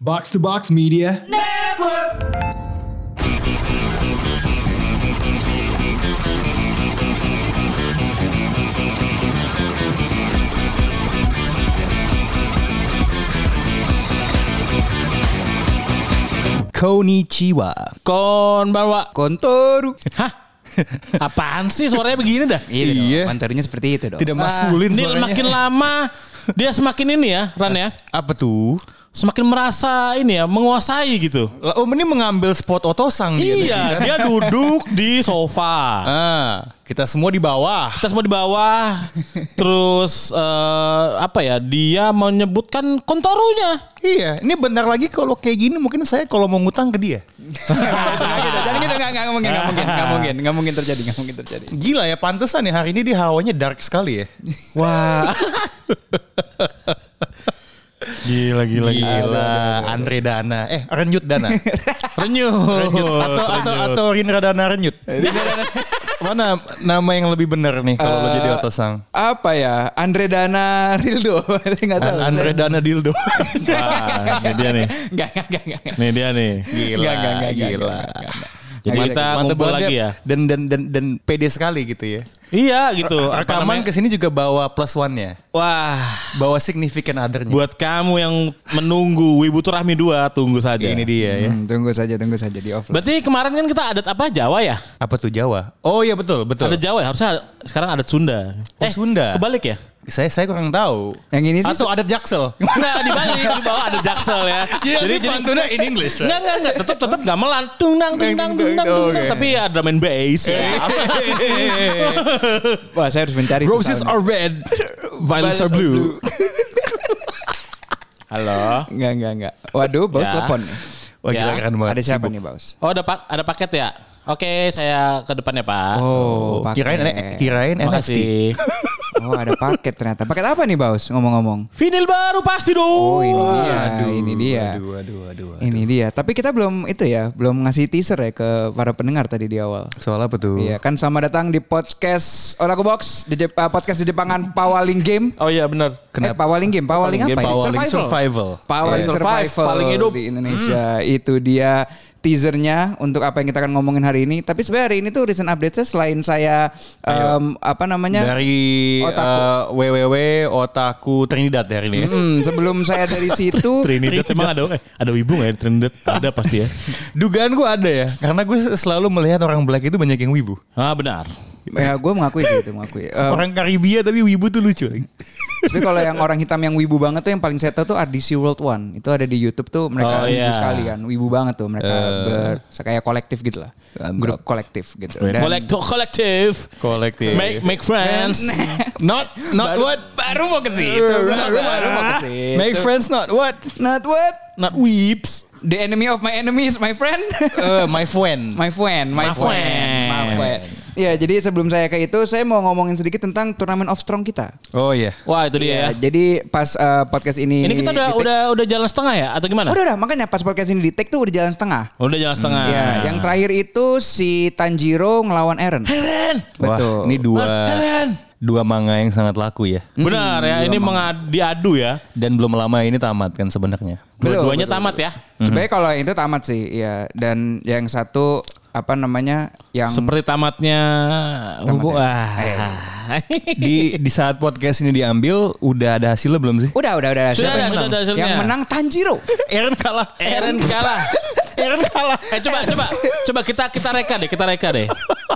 Box to Box Media. Konichiwa. Konbanwa Kontoru. Hah? Apaan sih suaranya begini dah? Iya, Iya. dong. Panternya seperti itu dong. Ah, Tidak maskulin Ini suaranya. makin lama dia semakin ini ya, Ran ya. Apa tuh? Semakin merasa ini ya, menguasai gitu. Lah, Om ini mengambil spot otosang dia. Iya, dia duduk di sofa. Ah, kita semua di bawah. Kita semua di bawah. Terus eh, apa ya? Dia menyebutkan kontorunya. Iya, ini bentar lagi kalau kayak gini mungkin saya kalau mau ngutang ke dia. Jangan gitu, jangan gitu, nggak nggak mungkin, nggak mungkin, nggak mungkin, nggak mungkin terjadi, nggak mungkin terjadi. Gila ya, pantesan ya hari ini dia hawanya dark sekali ya. Wah. gila gila Iya, Gila, Andre Dana. Eh, Renyut Dana. Renyuh. Renyut. Atau, atau, atau Rindra Dana Renyut. Mana nama yang lebih benar nih kalau lo jadi otosang? Apa ya, Andre Dana Rildo, nggak tahu. Andre Dana Dildo. Wah, ini dia nih. Nggak, nggak, nggak, nggak. Nih dia nih. Gila, Nggak, nggak, nggak, nggak, gila. nggak, nggak, nggak. Jadi Mantep, kita mantep ngumpul banget lagi ya. Dan dan dan dan pede sekali gitu ya. Iya gitu. apa Rekaman namanya? kesini juga bawa plus one-nya. Wah, Bawa significant other-nya. buat kamu yang menunggu Wibu Turahmi 2 tunggu saja. Ini dia ya. Hmm, tunggu saja, tunggu saja di offline. Berarti kemarin kan kita adat apa Jawa ya? Apa tuh Jawa? Oh iya betul, betul. Adat Jawa ya, harusnya ada- sekarang adat Sunda. Oh, Sunda. Kebalik ya? Saya saya kurang tahu. Yang ini sih- atau adat Jaksel. Nah, dibalik di bawah adat Jaksel ya. Iya. jadi pantunnya in English. Enggak, enggak, enggak. Tetap, tetap nggak melan. Tungdang, tungdang, tungdang, tungdang. Oke. Eh, Tapi ya drum and bass. ya. Iya, Wah, saya harus mencari. tuh soundnya. red, Violets are blue. Halo. Nggak, nggak, nggak. Waduh, baus Ya. telepon. Wah gila Ya. keren banget. Ada siapa Sibuk. nih, baus? Oh, ada, pak, ada paket ya? Oke, saya ke depannya, Pak. Oh, paket. Kirain kirain NFT. Makasih. Oh, ada paket ternyata. Paket apa nih, baus? Ngomong-ngomong. Vinil baru pasti dong. Oh, ini dia, ini dia. Aduh, aduh, aduh. Ini dia. Tapi kita belum itu ya, belum ngasih teaser ya ke para pendengar tadi di awal. Soal apa tuh? Iya kan sama datang di podcast Oraku Box, di Jep- uh, podcast di Jepangan Pawaling Game. Oh iya benar. Kenapa? Eh, Pawaling Game, Pawaling Game, apa ya? Pawaling Survival. Pawaling Iya. Survival, Survive, paling hidup. di Indonesia. Itu dia teasernya untuk apa yang kita akan ngomongin hari ini. Tapi sebenarnya hari ini tuh recent update-nya selain saya em, apa namanya? Dari Otaku. eh, www otaku Trinidad dari ini. ya. Hmm, sebelum saya dari situ Oh, Trinidad emang ada eh, ada wibu nggak ya di Trinidad? ada pasti ya. Dugaan gue ada ya, karena gue selalu melihat orang black itu banyak yang wibu. Ah benar. ya gue mengakui sih itu mengakui. Em, Orang Karibia tapi wibu tuh lucu. Tapi kalau yang orang hitam yang wibu banget tuh yang paling saya tahu tuh RDC World One. Itu ada di YouTube tuh mereka Oh, wibu iya. sekali kan. Wibu banget tuh mereka ber- kayak kolektif gitu lah. Mantap. Grup kolektif gitu. Kolektif, kolektif, Kolektif. make make friends. Not not what? baru mau ke situ. Baru, baru mau ke situ. Make friends not what? Not what? Not weeps. The enemy of my enemy is my friend. Eh, my friend. My friend, my, My friend. friend. my friend. Ya, jadi sebelum saya ke itu, saya mau ngomongin sedikit tentang turnamen of strong kita. Oh iya. Wah Ya, itu dia. ya. jadi pas eh, podcast ini Ini kita udah di-take- udah udah jalan setengah ya atau gimana? udah, udah, makanya pas podcast ini di take tuh udah jalan setengah. Udah jalan setengah. Ya, yang terakhir itu si Tanjiro ngelawan Eren. Keren. Betul. Mhm. Wah, ini dua Keren. dua manga yang sangat laku ya. Hmm, Benar ya, ini mengadu diadu ya. Dan belum lama ini tamat kan sebenarnya. Betul, Dua-duanya betul, tamat ya. Sebenarnya kalau yang itu tamat sih, ya. Dan yang satu apa namanya? Yang Seperti tamatnya ya. hubung. Ah. Di di saat podcast ini diambil udah ada hasilnya belum sih? udah udah udah Sudah siapa ada, yang sudah menang? ada hasilnya. Yang menang Tanjiro. Eren kalah. Eren kalah. Eren kalah. Eh coba coba coba kita kita reka deh, kita reka deh.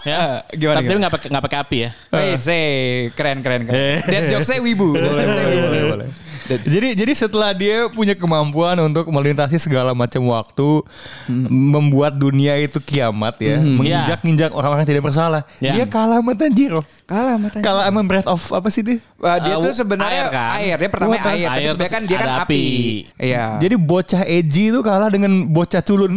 Ya. Eh, gimana, Tapi gimana? nggak pakai nggak pakai api ya. Wait, say, Eh, keren keren Eh. keren. Dead joke saya wibu. Dead joke-nya wibu. Jadi jadi setelah dia punya kemampuan untuk melintasi segala macam waktu, Hmm. membuat dunia itu kiamat ya, menginjak-injak orang-orang yang tidak bersalah. Ya. Dia kalah sama Tanjiro. Kalah sama Tanjiro. Kalah sama Breath of apa sih dia? Wah, dia Uh, tuh sebenarnya air kan? air, dia pertama Bukan. air, tapi Air, sebenarnya kan terus dia kan ada api. api. Iya. Jadi bocah Eji itu kalah dengan bocah culun.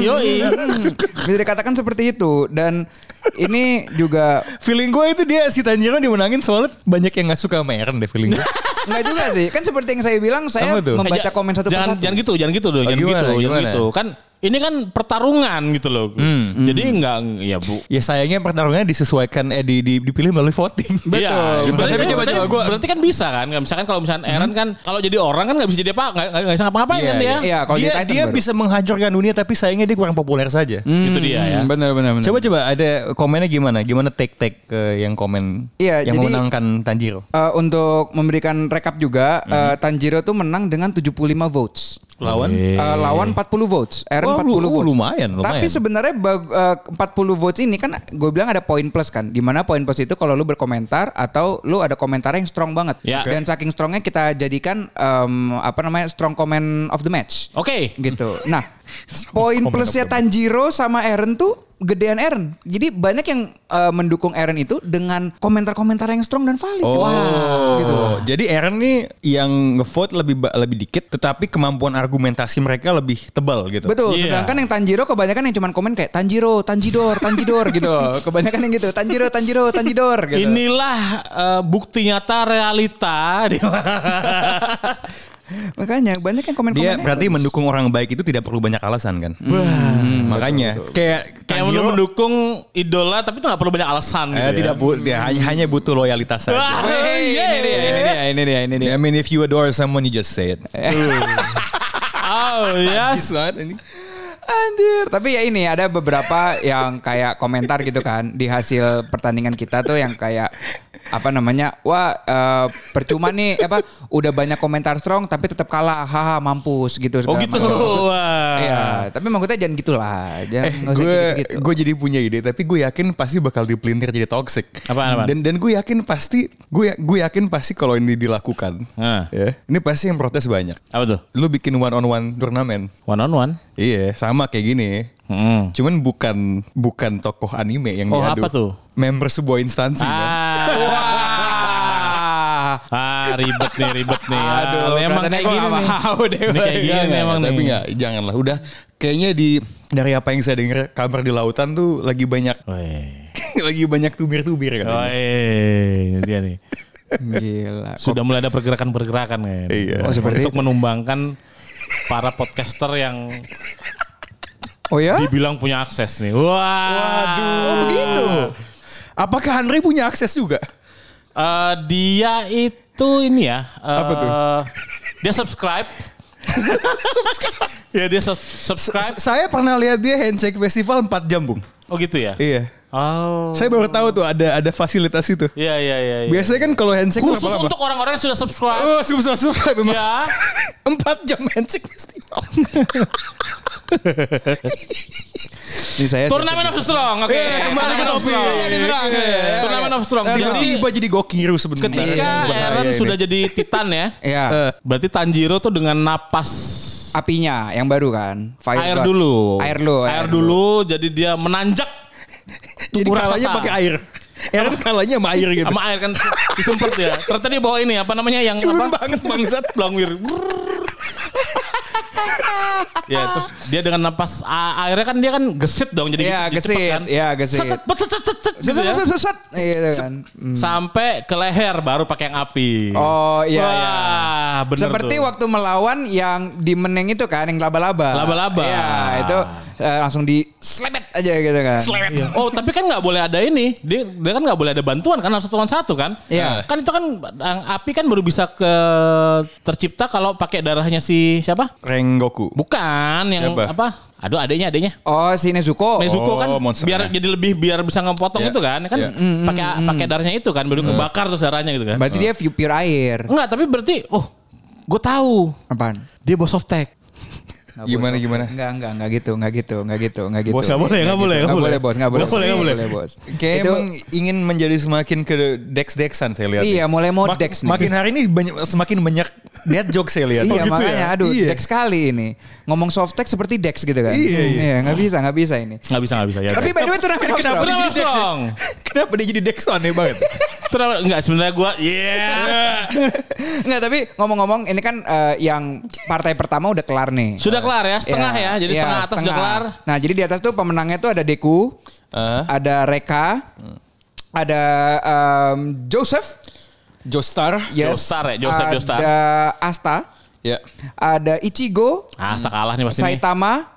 Yoi. Hmm, Bisa dikatakan seperti itu dan ini juga Feeling gue itu dia si Tanjiro dimenangin soalnya banyak yang nggak suka sama Eren deh feeling gue. Enggak juga sih. Kan seperti yang saya bilang saya Apa tuh? membaca Eh, ja- komen satu jangan, persatu. Oh, Jangan gitu, jangan gitu dong, jangan gimana, gitu, jangan ya? gimana? gitu. Kan ini kan pertarungan gitu loh. Hmm. Jadi nggak ya bu. Ya sayangnya pertarungannya disesuaikan eh di, di- dipilih melalui voting. Iya, berarti, Tapi coba coba berarti- gue berarti kan bisa kan? Misalkan kalau misalkan Aaron kan kalau jadi orang kan nggak bisa jadi apa, nggak nggak bisa ngapa-ngapain Iya, kan dia. Hmm. iya. kalau dia, jadi Titan dia baru. bisa menghancurkan dunia tapi sayangnya dia kurang populer saja. iya. Gitu dia ya. Benar benar benar. Coba coba ada komennya gimana? Gimana take-take eh, yang komen Iya, yang jadi- memenangkan Tanjiro? Eh, untuk memberikan rekap juga, eh, Hmm. Tanjiro tuh menang dengan 75 votes. Lawan Eh, lawan 40 votes, Aaron Wah, 40 lu- votes. oh, lumayan, lumayan. Tapi sebenarnya bag- eh, 40 votes ini kan gue bilang ada poin plus kan. Dimana poin plus itu kalau lu berkomentar atau lu ada komentar yang strong banget. Ya. Dan saking strongnya kita jadikan em, apa namanya strong comment of the match Oke. gitu. Nah, poin plusnya Tanjiro sama Eren tuh gedean Eren. Jadi banyak yang eh, mendukung Eren itu dengan komentar-komentar yang strong dan valid. Oh, gitu. jadi Aaron nih yang ngevote lebih ba- lebih dikit, tetapi kemampuan argumentasi mereka lebih tebal gitu. Betul, Iya. sedangkan yang Tanjiro kebanyakan yang cuman komen kayak Tanjiro, Tanjidor, Tanjidor gitu. Kebanyakan yang gitu, Tanjiro, Tanjiro, Tanjidor gitu. Inilah eh, bukti nyata realita. Makanya banyak yang gitu. komen-komen. Dia berarti mendukung orang baik itu tidak perlu banyak alasan kan? Hmm, Makanya kayak Kayak Tanjiro, lu mendukung idola tapi tuh nggak perlu banyak alasan gitu. eh, ya. tidak bu- ya, hanya- hanya butuh loyalitas saja. Wah, ini dia, ini dia, ini dia, ini dia. I mean if you adore someone you just say it. Eh, Oh ya. Najis banget anjing. Anjir, tapi ya ini ada beberapa yang kayak komentar gitu kan di hasil pertandingan kita tuh yang kayak apa namanya? Wah, eh, percuma nih apa udah banyak komentar strong tapi tetap kalah. Haha, mampus gitu Oh segala gitu. macam. Wah. Iya, tapi maksudnya jangan gitulah. Jangan nggak usah Eh, gue gitu-gitu. gue jadi punya ide tapi gue yakin pasti bakal dipelintir jadi toxic Apaan, apaan? dan dan gue yakin pasti gue gue yakin pasti kalau ini dilakukan Ah. ya, ini pasti yang protes banyak Apa tuh? lu bikin one on one turnamen One on one. iya sama kayak gini Hmm. cuman bukan bukan tokoh anime yang Oh, diadu apa tuh? member sebuah instansi kan? Ah. Ah. Ah ribet nih ribet nih. Ah, emang kelihatannya kayak gua gini nggak nih. mau deh. Ini kayak gini Enggak, nih enggak, Iya, emang Iya, tapi nih. enggak, janganlah udah kayaknya di dari apa yang saya dengar kabar di lautan tuh lagi banyak Woi. lagi banyak tubir-tubir katanya. Woi, ini gitu dia nih. Gila. Sudah mulai ada pergerakan-pergerakan ya. Iya. Oh, seperti untuk menumbangkan para podcaster yang Oh ya? dibilang punya akses nih. Wah. Oh, Waduh. Oh, begitu. Ah. Apakah Andre punya akses juga? Eh, dia itu ini ya. eh, Apa tuh? Dia subscribe. ya dia sub- subscribe. Saya pernah lihat dia handshake festival 4 jam, Bung. Oh gitu ya. Iya. Oh. Saya baru tahu tuh ada ada fasilitas itu. Iya iya iya. iya. Biasanya kan kalau handshake khusus berapa lama? untuk orang-orang yang sudah subscribe. Oh, subscribe subscribe memang. ya. 4 jam handshake festival. Ini saya. Turnamen of Strong. Oke. Eh, kembali Turnamen ke of topik. Strong. Iya, iya, iya, iya. Turnamen of Strong. Jadi Tiba-tiba jadi gokiru Iya, sebentar. ketika Aaron sudah jadi Titan ya. Ya. Eh, Berarti Tanjiro tuh dengan napas apinya yang baru kan Fire air God. dulu. air dulu Air dulu jadi dia menanjak jadi kurang kalahnya rasa. pakai air. Aaron kalahnya sama air gitu. Iya, sama air kan disumpet ya. Ternyata dia bawa ini apa namanya yang Culun apa? banget bangsat. Blangwir. Brrrr. ya terus dia dengan napas a- airnya kan dia kan gesit dong jadi Iya, jadi gesit. cepet kan. Iya, gesit. Set, set, set, set, set, Set, gitu ya. set, set, set. Iya kan. Sampai ke leher baru pakai yang api. Oh iya Wah, iya. bener Seperti tuh. waktu melawan yang di meneng itu kan yang laba-laba. Laba-laba. Iya, itu eh, langsung di slebet aja gitu kan. Slap. Oh tapi kan nggak boleh ada ini. Dia, dia kan nggak boleh ada bantuan kan harus satu lawan satu kan. Iya. Kan itu kan eh, api kan baru bisa ke tercipta kalau pakai darahnya si siapa? Rengoku. Bukan yang Siapa? apa? Aduh adanya adanya. Oh, si Nezuko. Nezuko kan Oh, monsternya. biar jadi lebih biar bisa ngepotong Iya. itu kan kan Iya. pakai pakai darahnya itu kan baru kebakar terus darahnya gitu kan. Berarti dia view pure air. Enggak tapi berarti oh gue tahu Apaan? dia bos of tech. Nggak Gimana, bos. gimana? Enggak, enggak, enggak gitu, enggak gitu, enggak gitu, enggak gitu. Bos, nggak boleh, nggak Nggak boleh, gitu. nggak Nggak boleh. boleh, bos, enggak boleh. Nggak boleh, nggak boleh. bos. Kayak Itu- emang ingin menjadi semakin ke dex-dexan saya lihat. Iya, nih. mulai mau Mak- dex nih. Makin hari ini banyak, semakin banyak dead joke saya lihat. Iya Oh, gitu ya? makanya aduh Iya. Dex kali ini ngomong soft tech seperti Dex gitu kan. Iya, iya. nggak bisa nggak bisa ini. Nggak bisa nggak bisa ya. Tapi by the way turnamen of Strong. Kenapa dia Kenapa jadi dex? ya? strong? Kenapa dia jadi dex aneh banget? Terus enggak sebenarnya iya. gue yeah. Nggak tapi ngomong-ngomong ini kan eh, yang partai pertama udah kelar nih. Sudah kelar ya, setengah ya. Jadi iya, setengah atas sudah kelar. Nah jadi di atas tuh pemenangnya tuh ada Deku, Ah. ada Reka, Hmm. ada em, Joseph, Joestar. yes, Joestar ya, Joseph, ada Joestar. Asta, Ya. ada Ichigo, Ah, tak kalah nih pasti. nih. Saitama,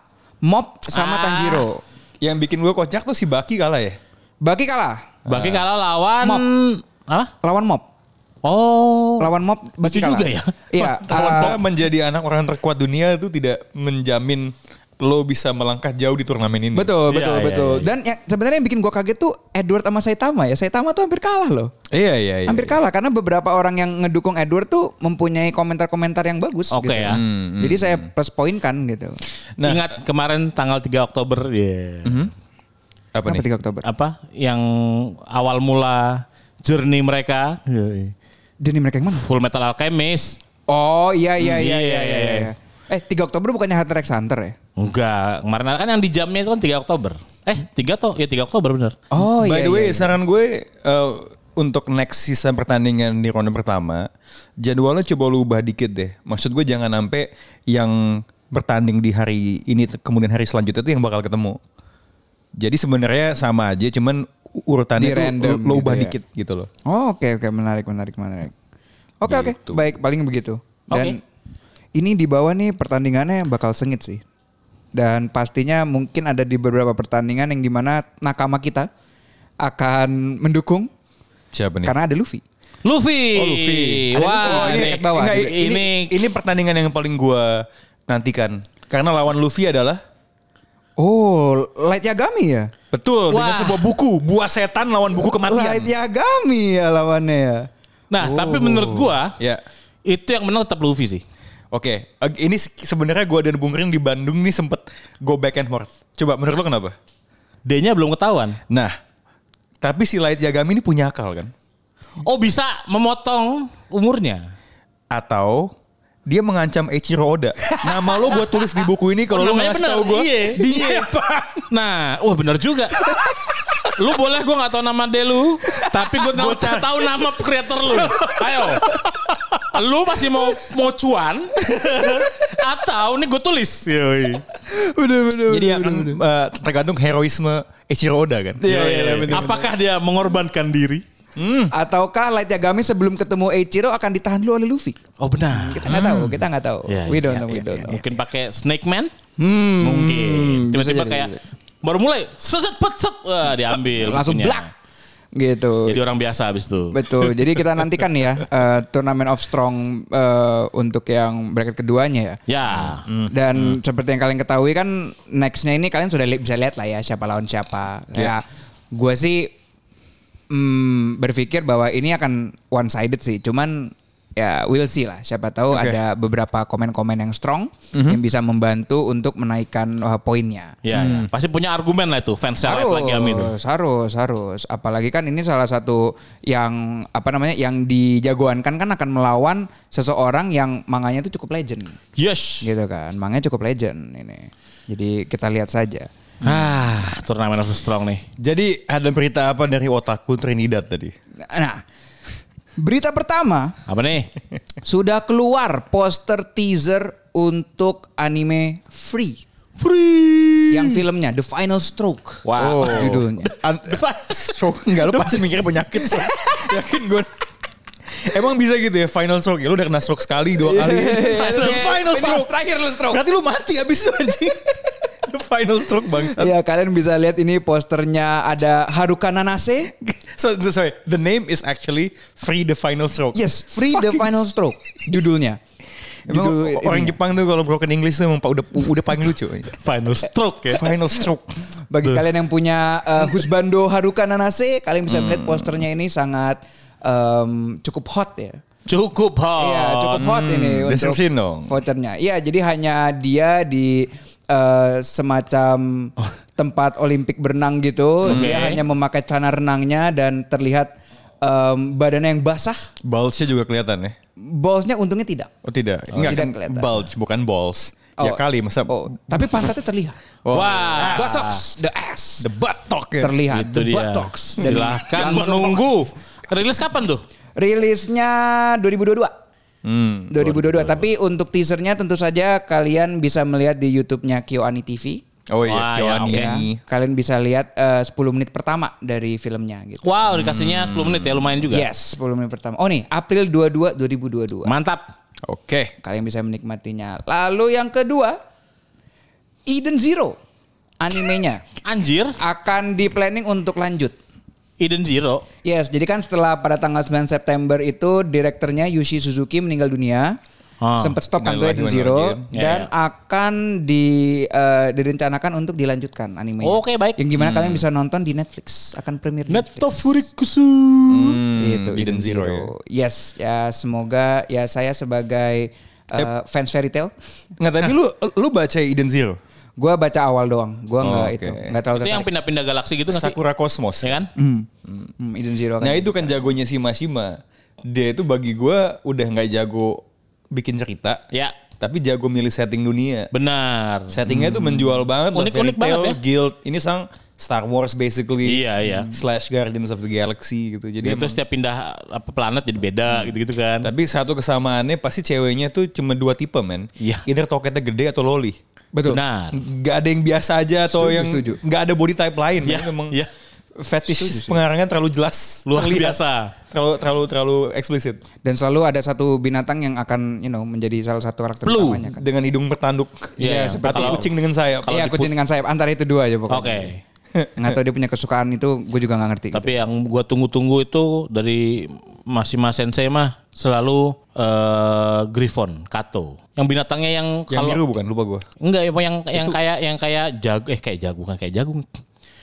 Mob sama Ah. Tanjiro. Yang bikin gue kocak tuh si Baki kalah ya. Baki kalah Baki Ah. kalah lawan Mop. Hah? lawan Mob. Oh. Lawan Mob Baki Lucu kalah. juga ya. Iya, Lawan eh, Bob menjadi anak orang terkuat dunia itu tidak menjamin lo bisa melangkah jauh di turnamen ini. betul, Iya, betul, iya, betul. iya. Dan yang, sebenarnya yang bikin gua kaget tuh Edward sama Saitama ya. Saitama tuh hampir kalah loh. Iya iya iya. Hampir kalah karena beberapa orang yang ngedukung Edward tuh mempunyai komentar-komentar yang bagus gitu. Oke ya. Hmm, Jadi saya plus poin kan gitu. Nah. Mhm. Ingat kemarin tanggal 3 Oktober ya. Apa Kenapa nih? 3 Oktober? Apa yang awal mula journey mereka Iya, Jadi mereka yang mana? Full Metal Alchemist. Oh iya iya iya Iya, iya iya. iya, iya. Eh 3 Oktober bukannya Hunter x Hunter ya? Enggak, kemarin kan yang di jamnya itu kan 3 Oktober. Eh, 3 toh? Ya 3 Oktober bener. Oh iya. By the iya, way, iya. saran gue eh, untuk next season pertandingan di ronde pertama, jadwalnya coba lu ubah dikit deh. Maksud gue jangan sampai yang bertanding di hari ini te- kemudian hari selanjutnya itu yang bakal ketemu. Jadi sebenarnya sama aja, cuman u- urutannya Di tuh random lo gitu ubah ya. dikit gitu loh. Oh, oke oke menarik menarik menarik. Oke oke baik paling begitu. Dan ini di bawah nih pertandingannya bakal sengit sih. Dan pastinya mungkin ada di beberapa pertandingan yang dimana nakama kita akan mendukung Siapa nih? karena ada Luffy. Luffy. Oh, Luffy. Ada Wah, Luffy. Oh, ini, jaket bawah enggak, juga. ini, ini, ini pertandingan yang paling gue nantikan. Karena lawan Luffy adalah Oh, Light Yagami ya? betul Wah. dengan sebuah buku buah setan lawan buku Light kematian. Yagami ya lawannya ya. Nah, tapi Oh. menurut gua Ya. itu yang menang tetap Luffy sih. Oke, eh, ini se- sebenarnya gue dan Bung Rin di Bandung nih sempet go back and forth. Coba menurut lo kenapa? D-nya belum ketahuan. Nah, tapi si Light Yagami ini punya akal kan? Oh, bisa memotong umurnya. Atau dia mengancam Eiichiro Oda. Nama lo gue tulis di buku ini kalau Oh, lo namanya ngasih bener. tau gue. Iya, Dia iya. apa? Nah, wah bener juga. lu boleh gue gak tahu nama Delu, tapi gue tahu tahu nama kreator lu. Ayo. Lu masih mau mau cuan atau nih gue tulis. Yoi. Udah, udah, Jadi akan eh, tergantung heroisme Eiichiro Oda kan? Iya, iya, iya, bener, Apakah dia mengorbankan diri? Ataukah Light Yagami sebelum ketemu Eiichiro akan ditahan dulu oleh Luffy? Oh benar. Kita nggak tahu, kita nggak tahu. Iya, we iya, don't know, we don't know. Mungkin pakai Snake Man? Hmm, Mungkin. bisa Tiba-tiba jadi, kayak bisa baru mulai seset peset wah diambil Langsung bukunya. blak. Gitu. Jadi orang biasa habis itu. Betul. Jadi kita nantikan nih ya eh, turnamen of strong eh, untuk yang bracket keduanya ya. Hmm. Ya. Dan seperti yang kalian ketahui kan nextnya ini kalian sudah li- bisa lihat lah ya siapa lawan siapa. Ya, gue sih mm, berpikir bahwa ini akan one sided sih. Cuman ya we'll see lah. Siapa tahu ada beberapa komen-komen yang strong yang bisa membantu untuk menaikkan eh, poinnya. Ya, ya. pasti punya argumen lah itu fans saya lagi Amin. Harus, harus, harus. Apalagi kan ini salah satu yang apa namanya yang dijagoankan kan akan melawan seseorang yang manganya itu cukup legend, Yes. gitu kan? Manganya cukup legend ini. Jadi kita lihat saja. Ah, turnamen of the strong nih. Jadi ada berita apa dari otakku Trinidad tadi? Nah, berita pertama Apa nih? sudah keluar poster teaser untuk anime Free Free. yang filmnya The Final Stroke. Wow. Judulnya. An- stroke enggak lu pasti mikirnya penyakit stroke. Yakin gue. Emang bisa gitu ya final stroke ya lu udah kena stroke sekali dua kali. Iya, final, final stroke. Terakhir lu stroke. Berarti lu mati abis itu anjing. The final stroke bangsat. Iya kalian bisa lihat ini posternya ada Haruka Nanase. So, so- sorry, the name is actually Free the Final Stroke. Yes, Free the Final Stroke judulnya. Emang Judul orang ininya. Jepang tuh kalau broken English tuh emang pa- udah udah paling lucu. iya. Final stroke ya. Final stroke. Bagi kalian yang punya eh, husbando Haruka Nanase, kalian Hmm. bisa melihat posternya ini sangat em, cukup hot ya. Cukup hot. Iya, cukup hot ini Oh, hmm, untuk deskripsiin dong. voternya. Iya, jadi hanya dia di eh, semacam Oh. tempat Olimpik berenang gitu. Hmm. Oke. Dia hanya memakai celana renangnya dan terlihat em, badannya yang basah. Bulge-nya juga kelihatan ya. Ballsnya untungnya tidak. Oh tidak, Oh, enggak tidak kan kelihatan. bulge bukan balls. Ya Oh, kali masa Oh, tapi pantatnya terlihat. Oh. Wah. Buttocks, the ass. The buttock ya. terlihat. Itu The dia. buttocks. Dan Silahkan langsung- menunggu. Rilis kapan tuh? Rilisnya 2022. Hmm. 2022. Tapi untuk teasernya tentu saja kalian bisa melihat di YouTube-nya KyoAni TV. Oh iya, Wah, ya, Kyoani. oke. Ya, kalian bisa lihat eh, 10 menit pertama dari filmnya gitu. Wow, dikasihnya 10 menit ya lumayan juga. Yes, 10 menit pertama. Oh nih, April 22 2022. Mantap. Oke. Kalian bisa menikmatinya. Lalu yang kedua, Eden Zero animenya Anjir, akan di planning untuk lanjut. Eden Zero. Yes, jadi kan setelah pada tanggal 9 September itu direkturnya Yushi Suzuki meninggal dunia. Ah, sempat stop kan tinggal tuh lagi, Eden tinggal Zero lagi. Ya, dan ya. akan di eh, direncanakan untuk dilanjutkan animenya. Oke, baik. Hmm. Yang gimana kalian bisa nonton di Netflix akan premier di Netflix. Netofurikusu. Hmm, Gitu, Eden Hmm, Zero Yes, ya semoga ya saya sebagai eh, fans fairy tale Nggak tapi lu lu baca Eden Zero? Gua baca awal doang. Gua nggak Oh, oke. itu, nggak terlalu Itu yang tertarik. pindah-pindah galaksi gitu nggak sih? Sakura Cosmos. Ya kan? Hmm. Hmm, Eden Zero kan. Nah itu kan jagonya si Mashima. Dia itu bagi gua udah nggak jago bikin cerita, Ya, tapi jago milih setting dunia. benar. Settingnya tuh menjual banget Hmm. loh. Unik-unik Fairy tale, banget ya. Guild. Ini sang Star Wars basically. Iya, iya. Slash Guardians of the Galaxy gitu. Jadi Itu emang- setiap pindah apa planet jadi beda gitu-gitu kan. tapi satu kesamaannya pasti ceweknya tuh cuma dua tipe men. Iya. Either toketnya gede atau loli. Betul. Benar. Gak ada yang biasa aja atau Setuju, yang setuju. gak ada body type lain. Iya, men. Memang iya. fetish pengarangnya terlalu jelas. Luar terlihat. biasa. Terlalu terlalu terlalu eksplisit. Dan selalu ada satu binatang yang akan you know menjadi salah satu karakter Blue. utamanya kan. Dengan hidung bertanduk. Iya, Iya, iya. seperti Atau Kalau- kucing dengan sayap. Iya, kucing dengan sayap antara itu dua aja Oke. pokoknya. Nggak tahu dia punya kesukaan itu gue juga nggak ngerti. gitu. Tapi yang gua tunggu-tunggu itu dari Mashima Sensei mah selalu eh Griffon, Kato. Yang binatangnya yang Yang kalau biru bukan lupa gue. enggak yang yang, yang kayak yang kayak jago eh kayak jago bukan kayak jagung.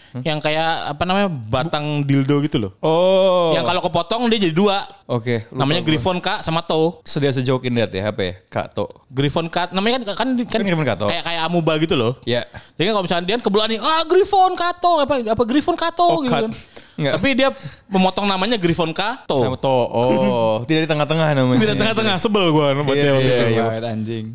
Hmm? Yang kayak apa namanya batang dildo gitu loh. Oh. Yang kalau kepotong dia jadi dua. Oke. lupa namanya gua. Griffon Kak sama To. Sedia sejauh in that ya HP ya? Kak To. Griffon Kak namanya kan kan kan, Kan Griffon Kak To. kayak kayak amuba gitu loh. Ya. Jadi kalau misalnya dia kebetulan nih, ah Griffon Kato apa apa Griffon Kato Oh, gitu Kat. kan. Enggak. Tapi dia memotong namanya Griffon Kato. Sama To. Oh. tidak di tengah-tengah namanya. Tidak tengah-tengah sebel gua baca waktu Iya, iya, itu. iya. Banget, anjing.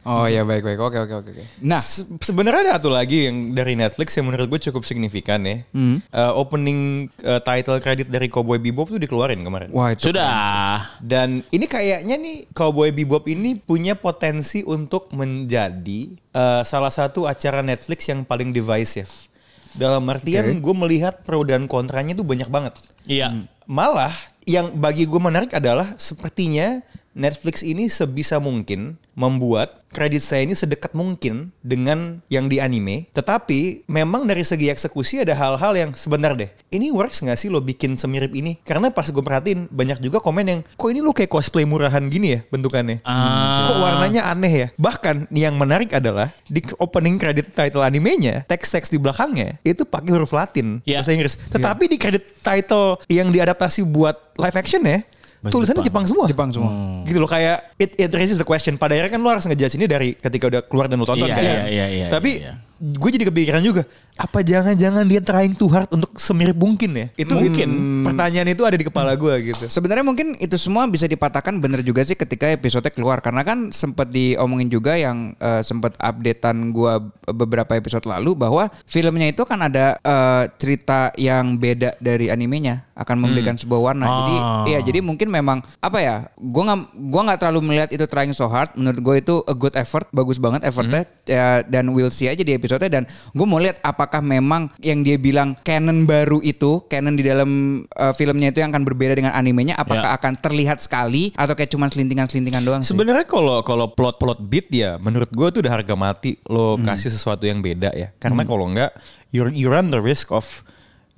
Oh ya baik baik oke oke oke oke. Nah Se- Sebenarnya ada satu lagi yang dari Netflix yang menurut gue cukup signifikan ya. Hmm. Eh, opening eh, title credit dari Cowboy Bebop tuh dikeluarin kemarin. wah itu Sudah. Dan ini kayaknya nih Cowboy Bebop ini punya potensi untuk menjadi eh, salah satu acara Netflix yang paling divisive. Dalam artian gue melihat pro dan kontranya tuh banyak banget. Iya. Hmm. Malah yang bagi gue menarik adalah sepertinya Netflix ini sebisa mungkin membuat kredit saya ini sedekat mungkin dengan yang di anime. Tetapi memang dari segi eksekusi ada hal-hal yang sebentar deh. Ini works nggak sih lo bikin semirip ini? Karena pas gue perhatiin banyak juga komen yang kok ini lo kayak cosplay murahan gini ya bentukannya. Ah, Kok warnanya aneh ya? Bahkan yang menarik adalah di opening credit title animenya, teks-teks di belakangnya itu pakai huruf Latin Iya. bahasa Inggris. Tetapi di kredit title yang diadaptasi buat live action ya, Bahasa tulisannya Jepang. Jepang. semua. Jepang semua. Hmm. Gitu loh kayak it, it raises the question. Pada akhirnya kan lu harus ngejudge ini dari ketika udah keluar dan lu tonton Iya, kan. iya, iya, iya, Tapi iya. gue jadi kepikiran juga apa jangan-jangan dia trying too hard untuk semirip mungkin ya? Itu mungkin pertanyaan itu ada di kepala gue gitu. Sebenarnya mungkin itu semua bisa dipatahkan bener juga sih ketika episode keluar karena kan sempat diomongin juga yang eh, sempat updatean gua beberapa episode lalu bahwa filmnya itu kan ada eh, cerita yang beda dari animenya akan memberikan sebuah warna. Jadi Hmm. Ah. iya jadi mungkin memang apa ya? Gua nggak gua nggak terlalu melihat itu trying so hard. Menurut gue itu a good effort, bagus banget effortnya Ya, dan we'll see aja di episode dan gue mau lihat apakah memang yang dia bilang canon baru itu, canon di dalam eh, filmnya itu yang akan berbeda dengan animenya apakah Ya. akan terlihat sekali atau kayak cuman selintingan-selintingan doang sih. Sebenarnya kalau kalau plot-plot beat ya menurut gue tuh udah harga mati lo kasih sesuatu yang beda ya. Karena kalau enggak you you run the risk of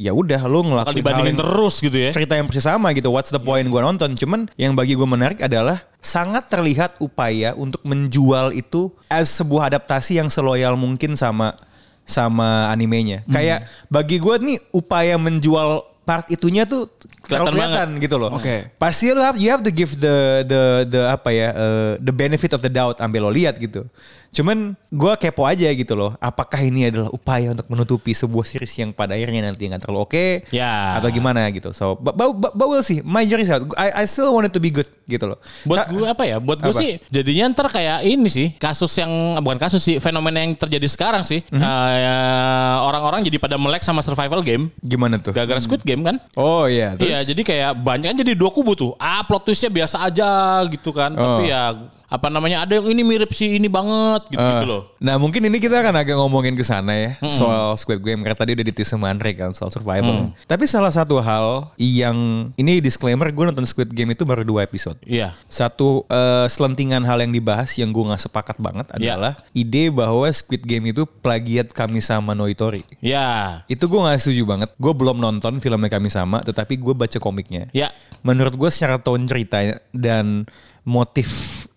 ya udah lo Kalau ngelakuin hal dibandingin yang- terus gitu ya. Iya. cerita yang persis sama gitu. What's the point gue nonton? Cuman yang bagi gue menarik adalah sangat terlihat upaya untuk menjual itu as sebuah adaptasi yang seloyal mungkin sama sama animenya. Hmm. Kayak bagi gue nih upaya menjual part itunya tuh Kelihatan terlalu kelihatan gitu loh. Oke. Pasti lo have, you have to give the the the apa ya uh, the benefit of the doubt ambil lo lihat gitu. Cuman gue kepo aja gitu loh. Apakah ini adalah upaya untuk menutupi sebuah series yang pada akhirnya nanti nggak terlalu oke? Ya. Atau gimana gitu. So, but, but, but, but we'll see. My jury's out. I, I still want it to be good gitu loh. Buat Sa- gue apa ya? Buat gue Apa? sih jadinya ntar kayak ini sih kasus yang bukan kasus sih fenomena yang terjadi sekarang sih Mhm. Eh, orang-orang jadi pada melek sama survival game Gimana tuh? gara-gara Squid Game kan? Oh iya. terus? Oh. Iya, jadi kayak banyak kan jadi dua kubu tuh. Ah, plot twistnya biasa aja gitu kan. Tapi ya apa namanya ada yang ini mirip si ini banget gitu gitu Eh, loh. Nah mungkin ini kita akan agak ngomongin ke sana ya soal Squid Game karena tadi udah ditis sama Andre kan soal Mm. survival. Tapi salah satu hal yang ini disclaimer gue nonton Squid Game itu baru dua episode. Iya. Satu eh, selentingan hal yang dibahas yang gue nggak sepakat banget Iya. adalah ide bahwa Squid Game itu plagiat kami sama Noitori. Ya. Itu gue gak setuju banget. Gue belum nonton filmnya kami sama, tetapi gue baca komiknya. Ya. Menurut gue secara tone ceritanya dan motif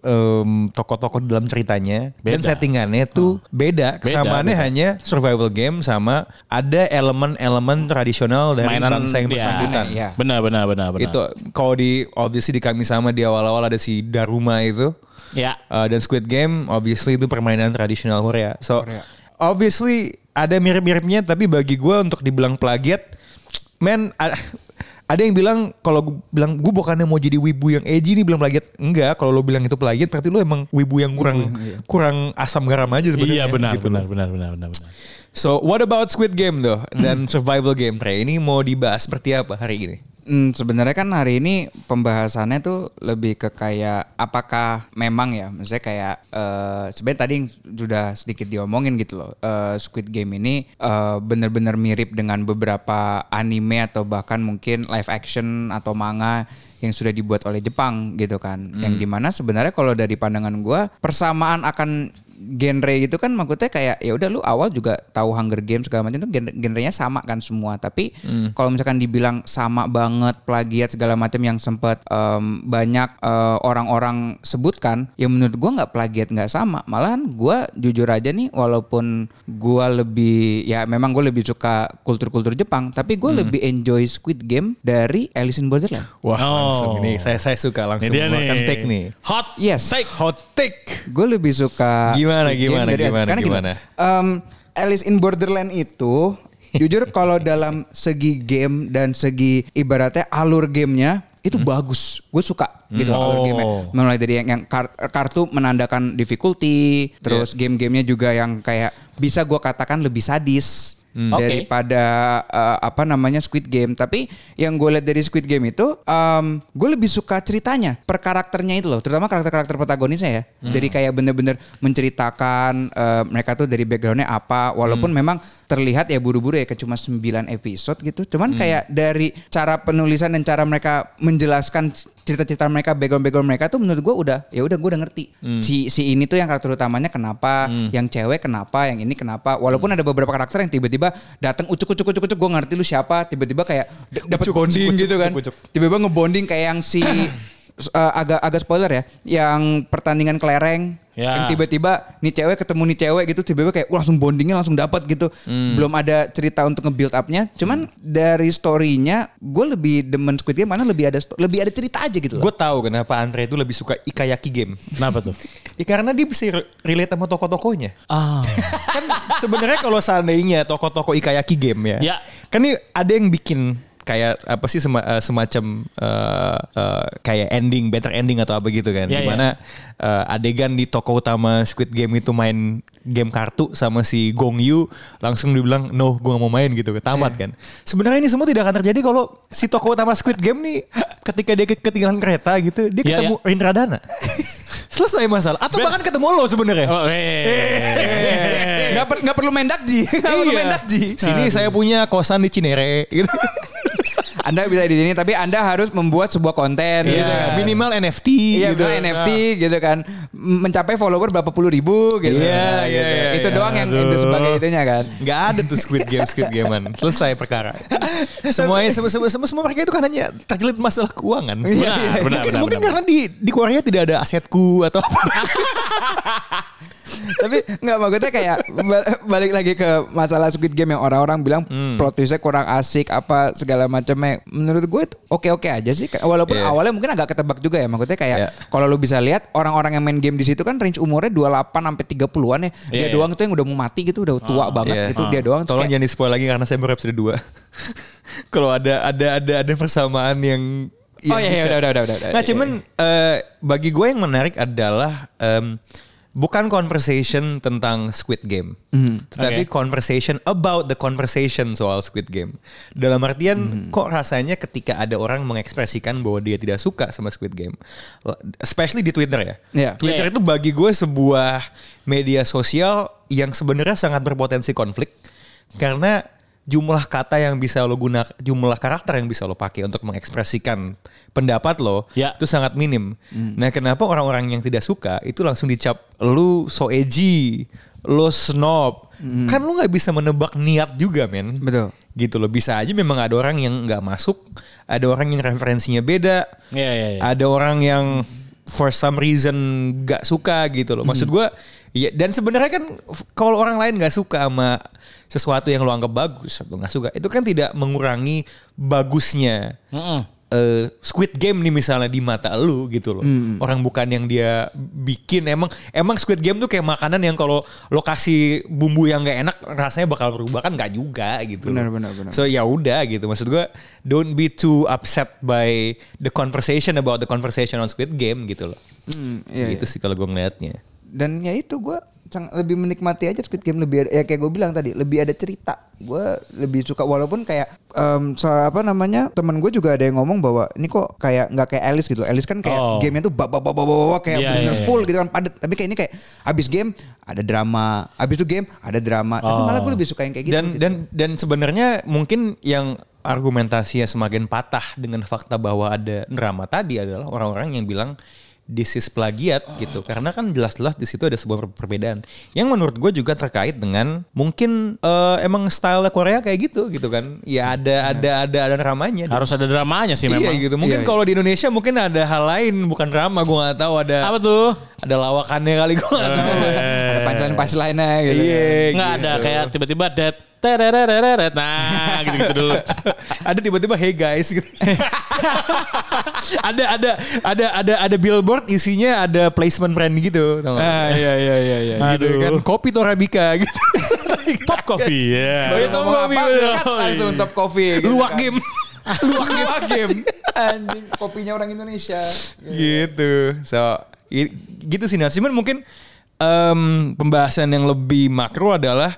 em, tokoh-tokoh dalam ceritanya dan Beda. settingannya tuh beda. Kesamaannya beda. hanya survival game sama ada elemen-elemen tradisional dari bangsa yang ya. bersangkutan. Iya. Benar benar benar benar. Itu kalau di obviously di kami sama di awal-awal ada si Daruma itu. Ya. Uh, dan Squid Game obviously itu permainan tradisional Korea. So obviously ada mirip-miripnya tapi bagi gue untuk dibilang plagiat, men a- ada yang bilang kalau gue bilang gue bukannya mau jadi wibu yang edgy nih bilang plagiat enggak kalau lo bilang itu plagiat berarti lo emang wibu iya. yang kurang kurang asam garam aja Iya sebenarnya benar, gitu. benar benar benar benar benar. so what about Squid Game though dan survival game Trey ini mau dibahas seperti apa hari ini Hmm, sebenarnya kan hari ini pembahasannya tuh lebih ke kayak apakah memang ya, maksudnya kayak eh, sebenarnya tadi yang sudah sedikit diomongin gitu loh, eh, Squid Game ini eh, bener-bener mirip dengan beberapa anime atau bahkan mungkin live action atau manga yang sudah dibuat oleh Jepang gitu kan, yang dimana sebenarnya kalau dari pandangan gua persamaan akan genre gitu kan maksudnya kayak ya udah lu awal juga tahu Hunger Games segala macam tuh genre genrenya sama kan semua tapi kalau misalkan dibilang sama banget plagiat segala macam yang sempat em, banyak eh, orang-orang sebutkan ya menurut gua nggak plagiat nggak sama malahan gua jujur aja nih walaupun gua lebih ya memang gue lebih suka kultur-kultur Jepang tapi gue lebih enjoy Squid Game dari Alice in Borderland wah Oh. langsung ini saya saya suka Ini langsung dia nih. mengeluarkan kan take nih Hot. yes take hot take gue lebih suka Gimana, Squid Game gimana, dari- gimana, karena gini, gimana? Em, Alice in Borderland itu jujur kalau dalam segi game dan segi ibaratnya alur gamenya itu Hmm. bagus gue suka gitu loh, alur Oh. gamenya. mulai dari yang, yang kar- kartu menandakan difficulty terus game-gamenya juga yang kayak bisa gue katakan lebih sadis Oke. daripada eh, apa namanya Squid Game tapi yang gue lihat dari Squid Game itu em, gue lebih suka ceritanya per karakternya itu loh terutama karakter-karakter protagonisnya ya dari kayak bener-bener menceritakan eh, mereka tuh dari backgroundnya apa walaupun memang terlihat ya buru-buru ya kayak cuma 9 episode gitu cuman kayak dari cara penulisan dan cara mereka menjelaskan cerita-cerita mereka, background-background mereka tuh menurut gue udah ya udah gue udah ngerti Hmm. si si ini tuh yang karakter utamanya kenapa, yang cewek kenapa, yang ini kenapa. Walaupun Hmm. ada beberapa karakter yang tiba-tiba datang ucuk ucuk ucuk ucuk gue ngerti lu siapa, tiba-tiba kayak d- dapat Ucuk, bonding ucuk, gitu ucuk, kan, ucuk, ucuk. tiba-tiba ngebonding kayak yang si s- eh, agak agak spoiler ya, yang pertandingan kelereng. Ya. Yang tiba-tiba nih cewek ketemu nih cewek gitu tiba-tiba kayak wah langsung bondingnya langsung dapat gitu. Hmm. Belum ada cerita untuk nge-build up-nya. Cuman dari story-nya gue lebih demen Squid Game mana lebih ada sto- lebih ada cerita aja gitu loh. Gue tahu kenapa Andre itu lebih suka ikayaki game. Kenapa tuh? Ya karena dia bisa re- relate sama tokoh-tokohnya. Ah. Kan sebenarnya kalau seandainya tokoh-tokoh ikayaki game ya. Ya. Kan ini ada yang bikin kayak apa sih sema- eh, semacam eh, eh, kayak ending better ending atau apa gitu kan Ya, ya. dimana eh, adegan di tokoh utama Squid Game itu main game kartu sama si Gong Yu langsung dibilang no gue gak mau main gitu Ya. tamat kan sebenarnya ini semua tidak akan terjadi kalau si tokoh utama Squid Game nih ketika dia ke- ketinggalan kereta gitu dia Ya, ketemu Rindradana selesai masalah atau bahkan ketemu lo sebenarnya Oh, eh. Nggak per- nggak perlu main dakji. Nggak perlu main dakji. Iya. Sini saya punya kosan di Cinere gitu. Anda bisa di sini tapi Anda harus membuat sebuah konten Iya, gitu kan. minimal NFT Iya, gitu. betul, NFT gitu kan mencapai follower berapa puluh ribu gitu. Iya, Nah, iya, gitu. iya, Itu iya. doang yang itu sebagai itunya kan. Gak ada tuh Squid Game Squid Gamean. Selesai perkara. Semuanya semua semua, semua, semua mereka itu kan hanya terjelit masalah keuangan. Benar, benar, Iya, mungkin benar, mungkin benar. karena di di Korea tidak ada asetku atau apa. tapi nggak maksudnya kayak ba- balik lagi ke masalah Squid Game yang orang-orang bilang Hmm. plot twistnya kurang asik apa segala macamnya menurut gue itu oke-oke aja sih walaupun Iya. awalnya mungkin agak ketebak juga ya maksudnya kayak Iya. kalau lu bisa lihat orang-orang yang main game di situ kan range umurnya 28 sampai 30-an ya dia Iya, iya. doang tuh yang udah mau mati gitu udah tua banget Iya. gitu dia doang Terus Tolong kayak- jangan di spoil lagi karena saya baru episode 2. Kalau ada ada ada ada persamaan yang Oh, iya, yang iya, bisa. udah, udah, udah, udah, Nah iya, cuman eh, bagi gue yang menarik adalah em, bukan conversation tentang Squid Game, tetapi conversation about the conversation soal Squid Game. Dalam artian kok rasanya ketika ada orang mengekspresikan bahwa dia tidak suka sama Squid Game, especially di Twitter ya. Iya. Twitter itu bagi gue sebuah media sosial yang sebenarnya sangat berpotensi konflik karena jumlah kata yang bisa lo guna, jumlah karakter yang bisa lo pakai untuk mengekspresikan pendapat lo Ya. itu sangat minim. Hmm. Nah, kenapa orang-orang yang tidak suka itu langsung dicap lu so edgy, lo snob. Kan lu nggak bisa menebak niat juga, men. Hmm. Betul. Gitu loh. Bisa aja memang ada orang yang nggak masuk, ada orang yang referensinya beda. Iya, iya, iya. Ada orang yang for some reason gak suka gitu loh. Maksud Hmm. gua ya dan sebenarnya kan f- kalau orang lain gak suka sama sesuatu yang lo anggap bagus atau gak suka, itu kan tidak mengurangi bagusnya Mm-mm. eh, Squid Game nih misalnya di mata lu gitu loh. Hmm, Orang bukan yang dia bikin emang emang Squid Game tuh kayak makanan yang kalau lokasi bumbu yang nggak enak rasanya bakal berubah kan nggak juga gitu. Benar, loh. benar, benar. So ya udah gitu. Maksud gua don't be too upset by the conversation about the conversation on Squid Game gitu loh. Hmm, iya, gitu sih kalau gue ngelihatnya. dan ya itu gue lebih menikmati aja Squid Game lebih ada, ya kayak gue bilang tadi lebih ada cerita gue lebih suka walaupun kayak em, so- apa namanya teman gue juga ada yang ngomong bahwa ini kok kayak nggak kayak Alice gitu Alice kan kayak Oh. gamenya tuh babak babak babak babak, kayak Iya, bener iya, iya. full gitu kan padet tapi kayak ini kayak abis game ada drama abis itu game ada drama tapi malah gue lebih suka yang kayak gitu dan gitu. dan dan sebenarnya mungkin yang argumentasinya semakin patah dengan fakta bahwa ada drama tadi adalah orang-orang yang bilang this is plagiat gitu karena kan jelas-jelas di situ ada sebuah per- perbedaan yang menurut gue juga terkait dengan mungkin eh, emang style Korea kayak gitu gitu kan ya ada ada ada ada dramanya Harus ada dramanya sih iya memang. gitu mungkin Iya, iya. kalau di Indonesia mungkin ada hal lain bukan drama gue nggak tahu ada Apa Nah, tuh? ada lawakannya kali gue nggak tahu eh, Ada punchline punchline-nya gitu. Iya, iya. Nggak gitu. ada kayak tiba-tiba dead tererereret. Nah, gitu-gitu dulu. ada tiba-tiba hey guys gitu. ada ada ada ada ada billboard isinya ada placement brand gitu. tau nggak? Ah, iya iya iya iya. Gitu kan kopi Torabika gitu. Top coffee. Baru Iya. tau Ngomong kopi, apa, bener. cut langsung top coffee. gitu Luwak kan. game Luwak game. Luwak game. Anjing, kopinya orang Indonesia. gitu. So i- gitu sih Nat. Cuman mungkin em, pembahasan yang lebih makro adalah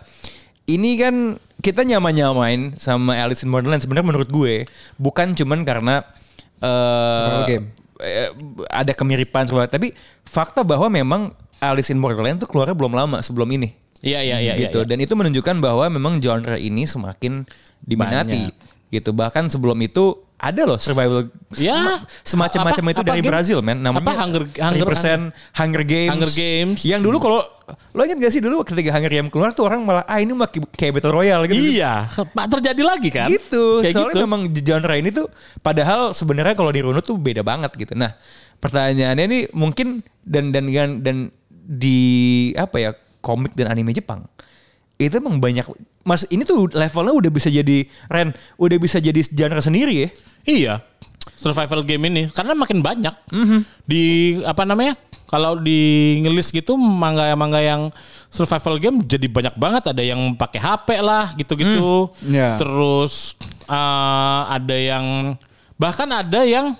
ini kan kita nyama-nyamain sama Alice in Borderland sebenarnya menurut gue bukan cuman karena eh Survival game. eh, ada kemiripan sebenarnya tapi fakta bahwa memang Alice in Borderland tuh keluarnya belum lama sebelum ini Iya, iya, iya. gitu dan itu menunjukkan bahwa memang genre ini semakin diminati gitu bahkan sebelum itu ada loh survival Ya. semacam-macam Apa- itu apa dari game? Brazil men namanya Apa Hunger- Hunger- 3% Hunger Games Hunger Games. yang dulu kalau lo ingat gak sih dulu ketika Hunger Games keluar tuh orang malah ah ini mah kayak battle royale gitu Iya, Pak, terjadi lagi kan? gitu Kayak soalnya gitu. memang genre ini tuh padahal sebenarnya kalau dirunut tuh beda banget gitu nah pertanyaannya ini mungkin dan dan dan, dan di apa ya komik dan anime Jepang itu emang banyak mas ini tuh levelnya udah bisa jadi ren udah bisa jadi genre sendiri ya Iya. Survival game ini karena makin banyak. Mhm. Di apa namanya? Kalau di ngelis gitu mangga-mangga yang survival game jadi banyak banget ada yang pakai HP lah gitu-gitu. Hmm, Iya. Terus eh, ada yang bahkan ada yang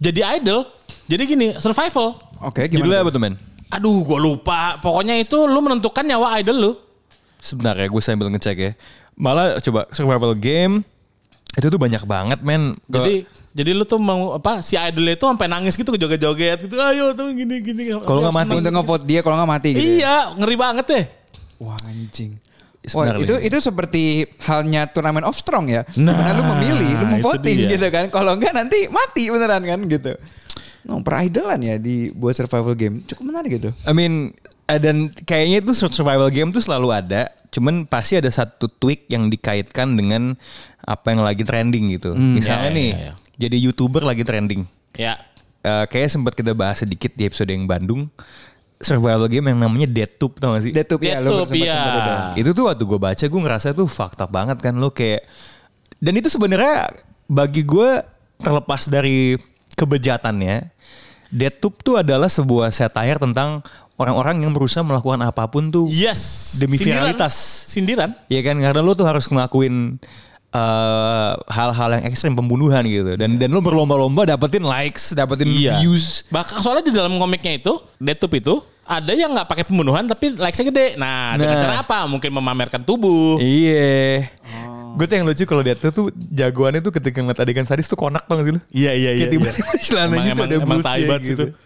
jadi idol. Jadi gini, survival. oke judulnya gimana apa tuh men Aduh, gua lupa. Pokoknya itu lu menentukan nyawa idol lu. sebentar ya gue sambil ngecek ya malah coba survival game itu tuh banyak banget men Jadi jadi lu tuh mau apa si idol itu sampai nangis gitu joget-joget gitu. Ayo tuh gini gini. Kalau nggak mati. Untuk ngevote dia kalau nggak mati gitu. ya. Iya, ngeri banget deh. wah anjing Wah, Sebenarnya. itu itu seperti halnya turnamen of strong ya. Dimana lu memilih, lu Nah, itu voting dia. gitu kan. Kalau enggak nanti mati beneran kan gitu. no peridolan ya di buat survival game cukup menarik gitu I mean eh, dan kayaknya itu survival game tuh selalu ada, cuman pasti ada satu tweak yang dikaitkan dengan apa yang lagi trending gitu. Ya, Misalnya ya, nih, ya, ya. jadi youtuber lagi trending. Ya. Eh kayaknya sempat kita bahas sedikit di episode yang Bandung survival game yang namanya Deathloop tau gak sih? Deathloop ya lu Deathloop, sempat- iya. sempat ada. Ah. Itu tuh waktu gue baca gue ngerasa tuh fakta banget kan lo kayak dan itu sebenarnya bagi gue terlepas dari kebejatannya Deathloop tuh adalah sebuah satire tentang orang-orang yang berusaha melakukan apapun tuh Yes. Demi Sindiran. viralitas. Sindiran. Iya kan karena lo tuh harus ngelakuin eh, hal-hal yang ekstrim pembunuhan gitu dan dan lo Iya. berlomba-lomba dapetin likes, dapetin views. Bahkan soalnya di dalam komiknya itu, Detup itu ada yang nggak pakai pembunuhan tapi likes-nya gede. Nah, dengan Nah. cara apa? Mungkin memamerkan tubuh. Iya. Gue tuh yang lucu kalau dia tuh tuh jagoannya tuh ketika ngeliat adegan sadis tuh konak banget sih lu. Iya iya Kayak tiba-tiba celananya Emang- tuh ada emang- emang tai bulutnya banget gitu. situ.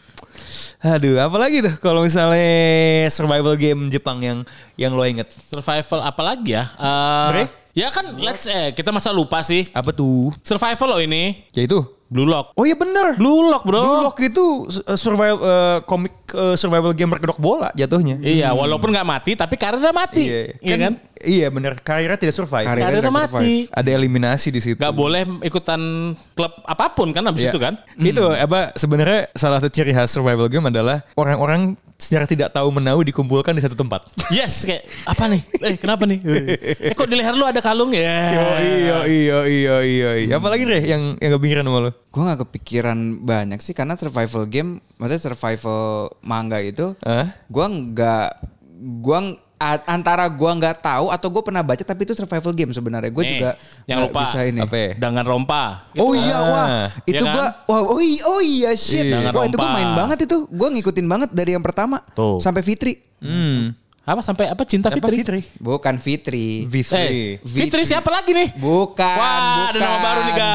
Aduh, apalagi tuh kalau misalnya survival game Jepang yang yang lo inget. Survival apalagi ya? Eh, Bre? ya kan let's eh kita masa lupa sih. Apa tuh? Survival loh ini. Ya itu. Blue Lock. Oh iya bener. Blue Lock, Bro. Blue Lock itu uh, survival uh, komik uh, survival game berkedok bola jatuhnya. Iya, walaupun nggak mati tapi karirnya mati. Iya, Iya kan? Iya bener. Karirnya tidak survive. Karirnya Karirnya nggak mati. survive. Ada eliminasi di situ. Gak boleh ikutan klub apapun kan abis Iya. itu kan. Itu apa sebenarnya salah satu ciri khas survival game adalah orang-orang secara tidak tahu menahu dikumpulkan di satu tempat. Yes, kayak apa nih? Eh kenapa nih? Eh kok di leher lu ada kalung ya? Iya iya iya iya iya. Apalagi deh yang yang kepikiran sama lo. Gue gak kepikiran banyak sih karena survival game, maksudnya survival manga itu, Hah? gue nggak, gue antara gue nggak tahu atau gue pernah baca tapi itu survival game sebenarnya. Gue Nih, juga yang nggak lupa. bisa ini. Apa ya? Dengan rompa. Oh iya Ah. wah, Iya itu kan? gua wah, oh, iya, oh iya shit. Iya. Wah, itu gua Rompa. main banget itu. Gua ngikutin banget dari yang pertama Tuh. sampai Fitri. Hmm. Apa sampai apa cinta Apa Fitri? Fitri? Bukan Fitri. Eh, Fitri. Fitri siapa lagi nih? Bukan. Wah, bukan, ada nama baru nih, Bukan,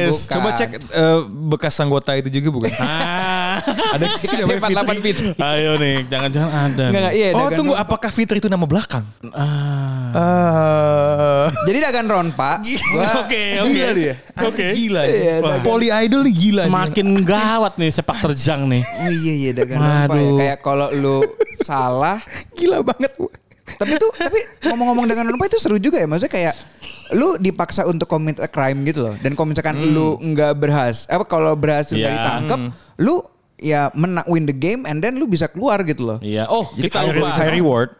guys. bukan. Coba cek eh, bekas anggota itu juga bukan? Ah. Ada sih namanya Fitri. 48 Fitri. Ayo nih, jangan-jangan ada. Nggak, nggak, iya, oh dagang tunggu, ron- apakah Fitri itu nama belakang? Ah. Ah. Jadi dagan Ron Pak. Gua, Oke, oke. Gila dia. Oke. Gila dia. Wah. Poli idol nih gila. dia. Semakin gawat nih sepak terjang nih. Oh iya iya dagang rompa ya. Waduh. Kayak Kayak kalau lu salah, gila banget. tapi tuh tapi ngomong-ngomong dengan rompa itu seru juga ya. Maksudnya kayak lu dipaksa untuk commit a crime gitu loh. Dan kalau misalkan lu nggak berhasil apa kalau berhasil Iya. nggak ditangkap, lu ya mena win the game and then lu bisa keluar gitu loh. Iya. Oh, Jadi kita high risk, lupa. high reward.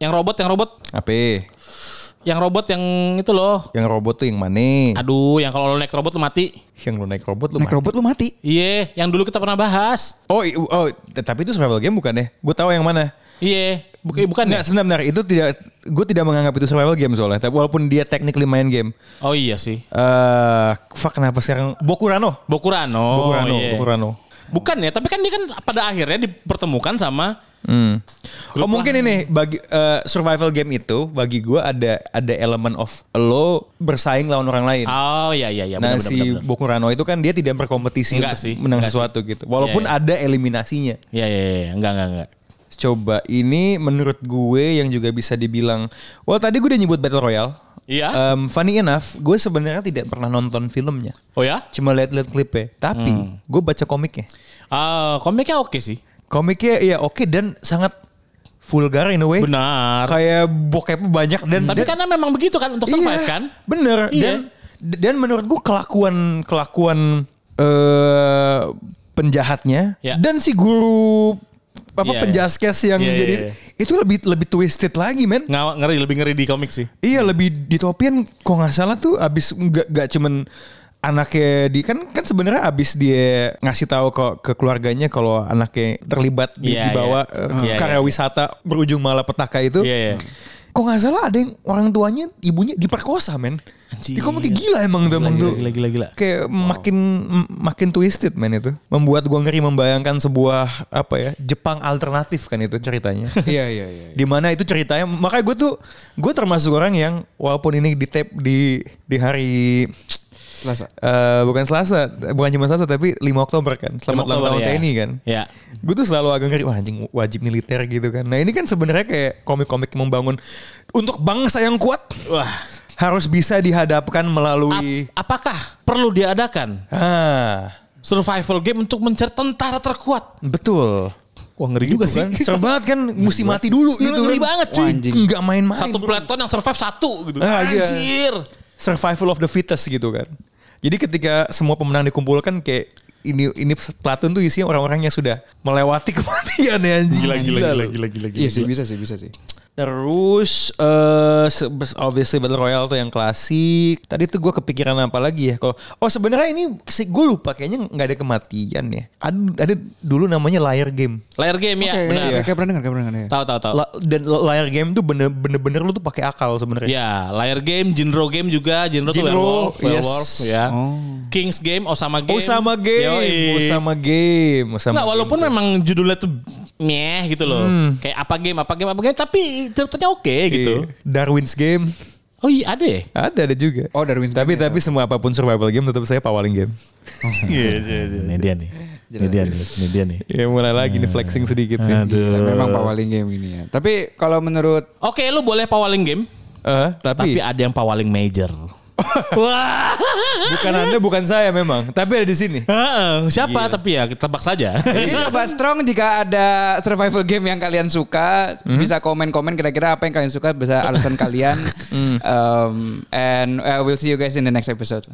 Yang robot, yang robot, Apa? yang robot yang itu loh. Yang robot tuh yang mana? Aduh, yang kalau lo naik robot lo mati. Yang lu naik robot lu Naik mati. robot lu mati. Iya, yang dulu kita pernah bahas. Oh, i- oh, t- tapi itu survival game bukan ya? Gue tahu yang mana. Iya, bukan bukan ya? Nggak, sebentar, benar. Itu tidak, gue tidak menganggap itu survival game soalnya. Tapi walaupun dia technically main game. Oh iya sih. Eh, fuck kenapa sekarang? Bokurano. Bokurano. Bokurano, iya. Bokurano. Bukan ya, tapi kan dia kan pada akhirnya dipertemukan sama Hmm. Grup oh mungkin ini bagi eh, survival game itu bagi gue ada ada elemen of lo bersaing lawan orang lain. Oh iya iya iya nah benar si benar. benar. Bokurano itu kan dia tidak berkompetisi Enggak untuk sih, menang enggak sesuatu gitu. Walaupun Iya, iya. ada eliminasinya. Iya iya iya, enggak enggak enggak. Coba ini menurut gue yang juga bisa dibilang, well tadi gue udah nyebut Battle Royale. Iya. Em, funny enough, gue sebenarnya tidak pernah nonton filmnya. Oh ya? Cuma lihat-lihat klipnya. Tapi Hmm. gue baca komiknya. Ah, komiknya oke sih. Komiknya ya oke dan sangat vulgar in a way. Benar. Kayak bokepnya banyak dan Tapi dan- karena memang begitu kan untuk survive Iya, kan? Bener. Iya. Dan dan menurut gue kelakuan kelakuan eh penjahatnya Ya. dan si guru apa Iya, penjaskes yang Iya, jadi iya, iya. itu lebih lebih twisted lagi men. Ngaw- ngeri lebih ngeri di komik sih. Iya lebih ditopian kok nggak salah tuh abis nggak nggak cuman anaknya di kan kan sebenarnya abis dia ngasih tahu ke, ke keluarganya kalau anaknya terlibat di, Iya, dibawa iya. eh, Iya, karya iya. wisata berujung malapetaka itu. Iya, iya. Kok nggak salah ada yang orang tuanya ibunya diperkosa men. Anjir. Di komik gila emang tuh Gila, emang gila, tuh. gila, gila, gila. Kayak makin m- makin twisted men itu. Membuat gua ngeri membayangkan sebuah apa ya Jepang alternatif kan itu ceritanya. Iya iya iya. di mana itu ceritanya makanya gue tuh gue termasuk orang yang walaupun ini di tape di di hari Selasa. eh, bukan Selasa bukan cuma Selasa tapi 5 Oktober kan selamat ulang Oktober, tahun ya. TNI kan Iya. gue tuh selalu agak ngeri wah anjing wajib militer gitu kan nah ini kan sebenarnya kayak komik-komik membangun untuk bangsa yang kuat Wah. harus bisa dihadapkan melalui Ap- apakah perlu diadakan ah survival game untuk mencari tentara terkuat? betul Wah, ngeri juga kan sih. serem banget kan mesti mati dulu Ngeri gitu kan. banget, cuy. Wah, anjing nggak main-main Satu bro. peleton yang survive satu gitu. Ah, iya. Anjir. survival of the fittest gitu kan. Jadi ketika semua pemenang dikumpulkan kayak ini ini pelatun tuh isinya orang-orang yang sudah melewati kematian ya anjing. loh. gila, Iya sih bisa sih bisa sih. Terus eh se- obviously Battle Royale tuh yang klasik. Tadi tuh gue kepikiran apa lagi ya kalau oh sebenarnya ini gue lupa kayaknya nggak ada kematian ya. Ada ada dulu namanya layar game. Layar game ya, Oke, benar. iya. kayak kayak pernah dengar, kayak pernah dengar ya. Tahu tahu tahu. La- dan layar game tuh bener- bener-bener lu tuh pakai akal sebenarnya. Ya, layar game, genre game juga, genre, tuh Genre, werewolf, yes. werewolf ya. Oh. Kings game, Osama game. Oh sama game, Yoi. oh sama game, oh sama Nggak, game. walaupun memang judulnya tuh meh gitu loh. Kayak apa game, apa game, apa game. Tapi ceritanya oke gitu. Darwin's Game. Oh iya ada ya? Ada ada juga. Oh, Darwin's tapi tapi semua apapun survival game tetap saya pawaling game. Ini dia nih. Ini dia nih. Ini dia nih. Eh, Ya mulai lagi nih flexing sedikit nih. Aduh. Memang pawaling game ini ya. Tapi kalau menurut Oke lu boleh pawaling game. Eh, Tapi tapi, ada yang pawaling major. Wah. bukan Anda bukan saya memang, tapi ada di sini. Heeh, Siapa tapi ya kita tebak saja. Ini coba strong jika ada survival game yang kalian suka bisa komen-komen kira-kira apa yang kalian suka bisa alasan kalian um, and uh, we'll see you guys in the next episode.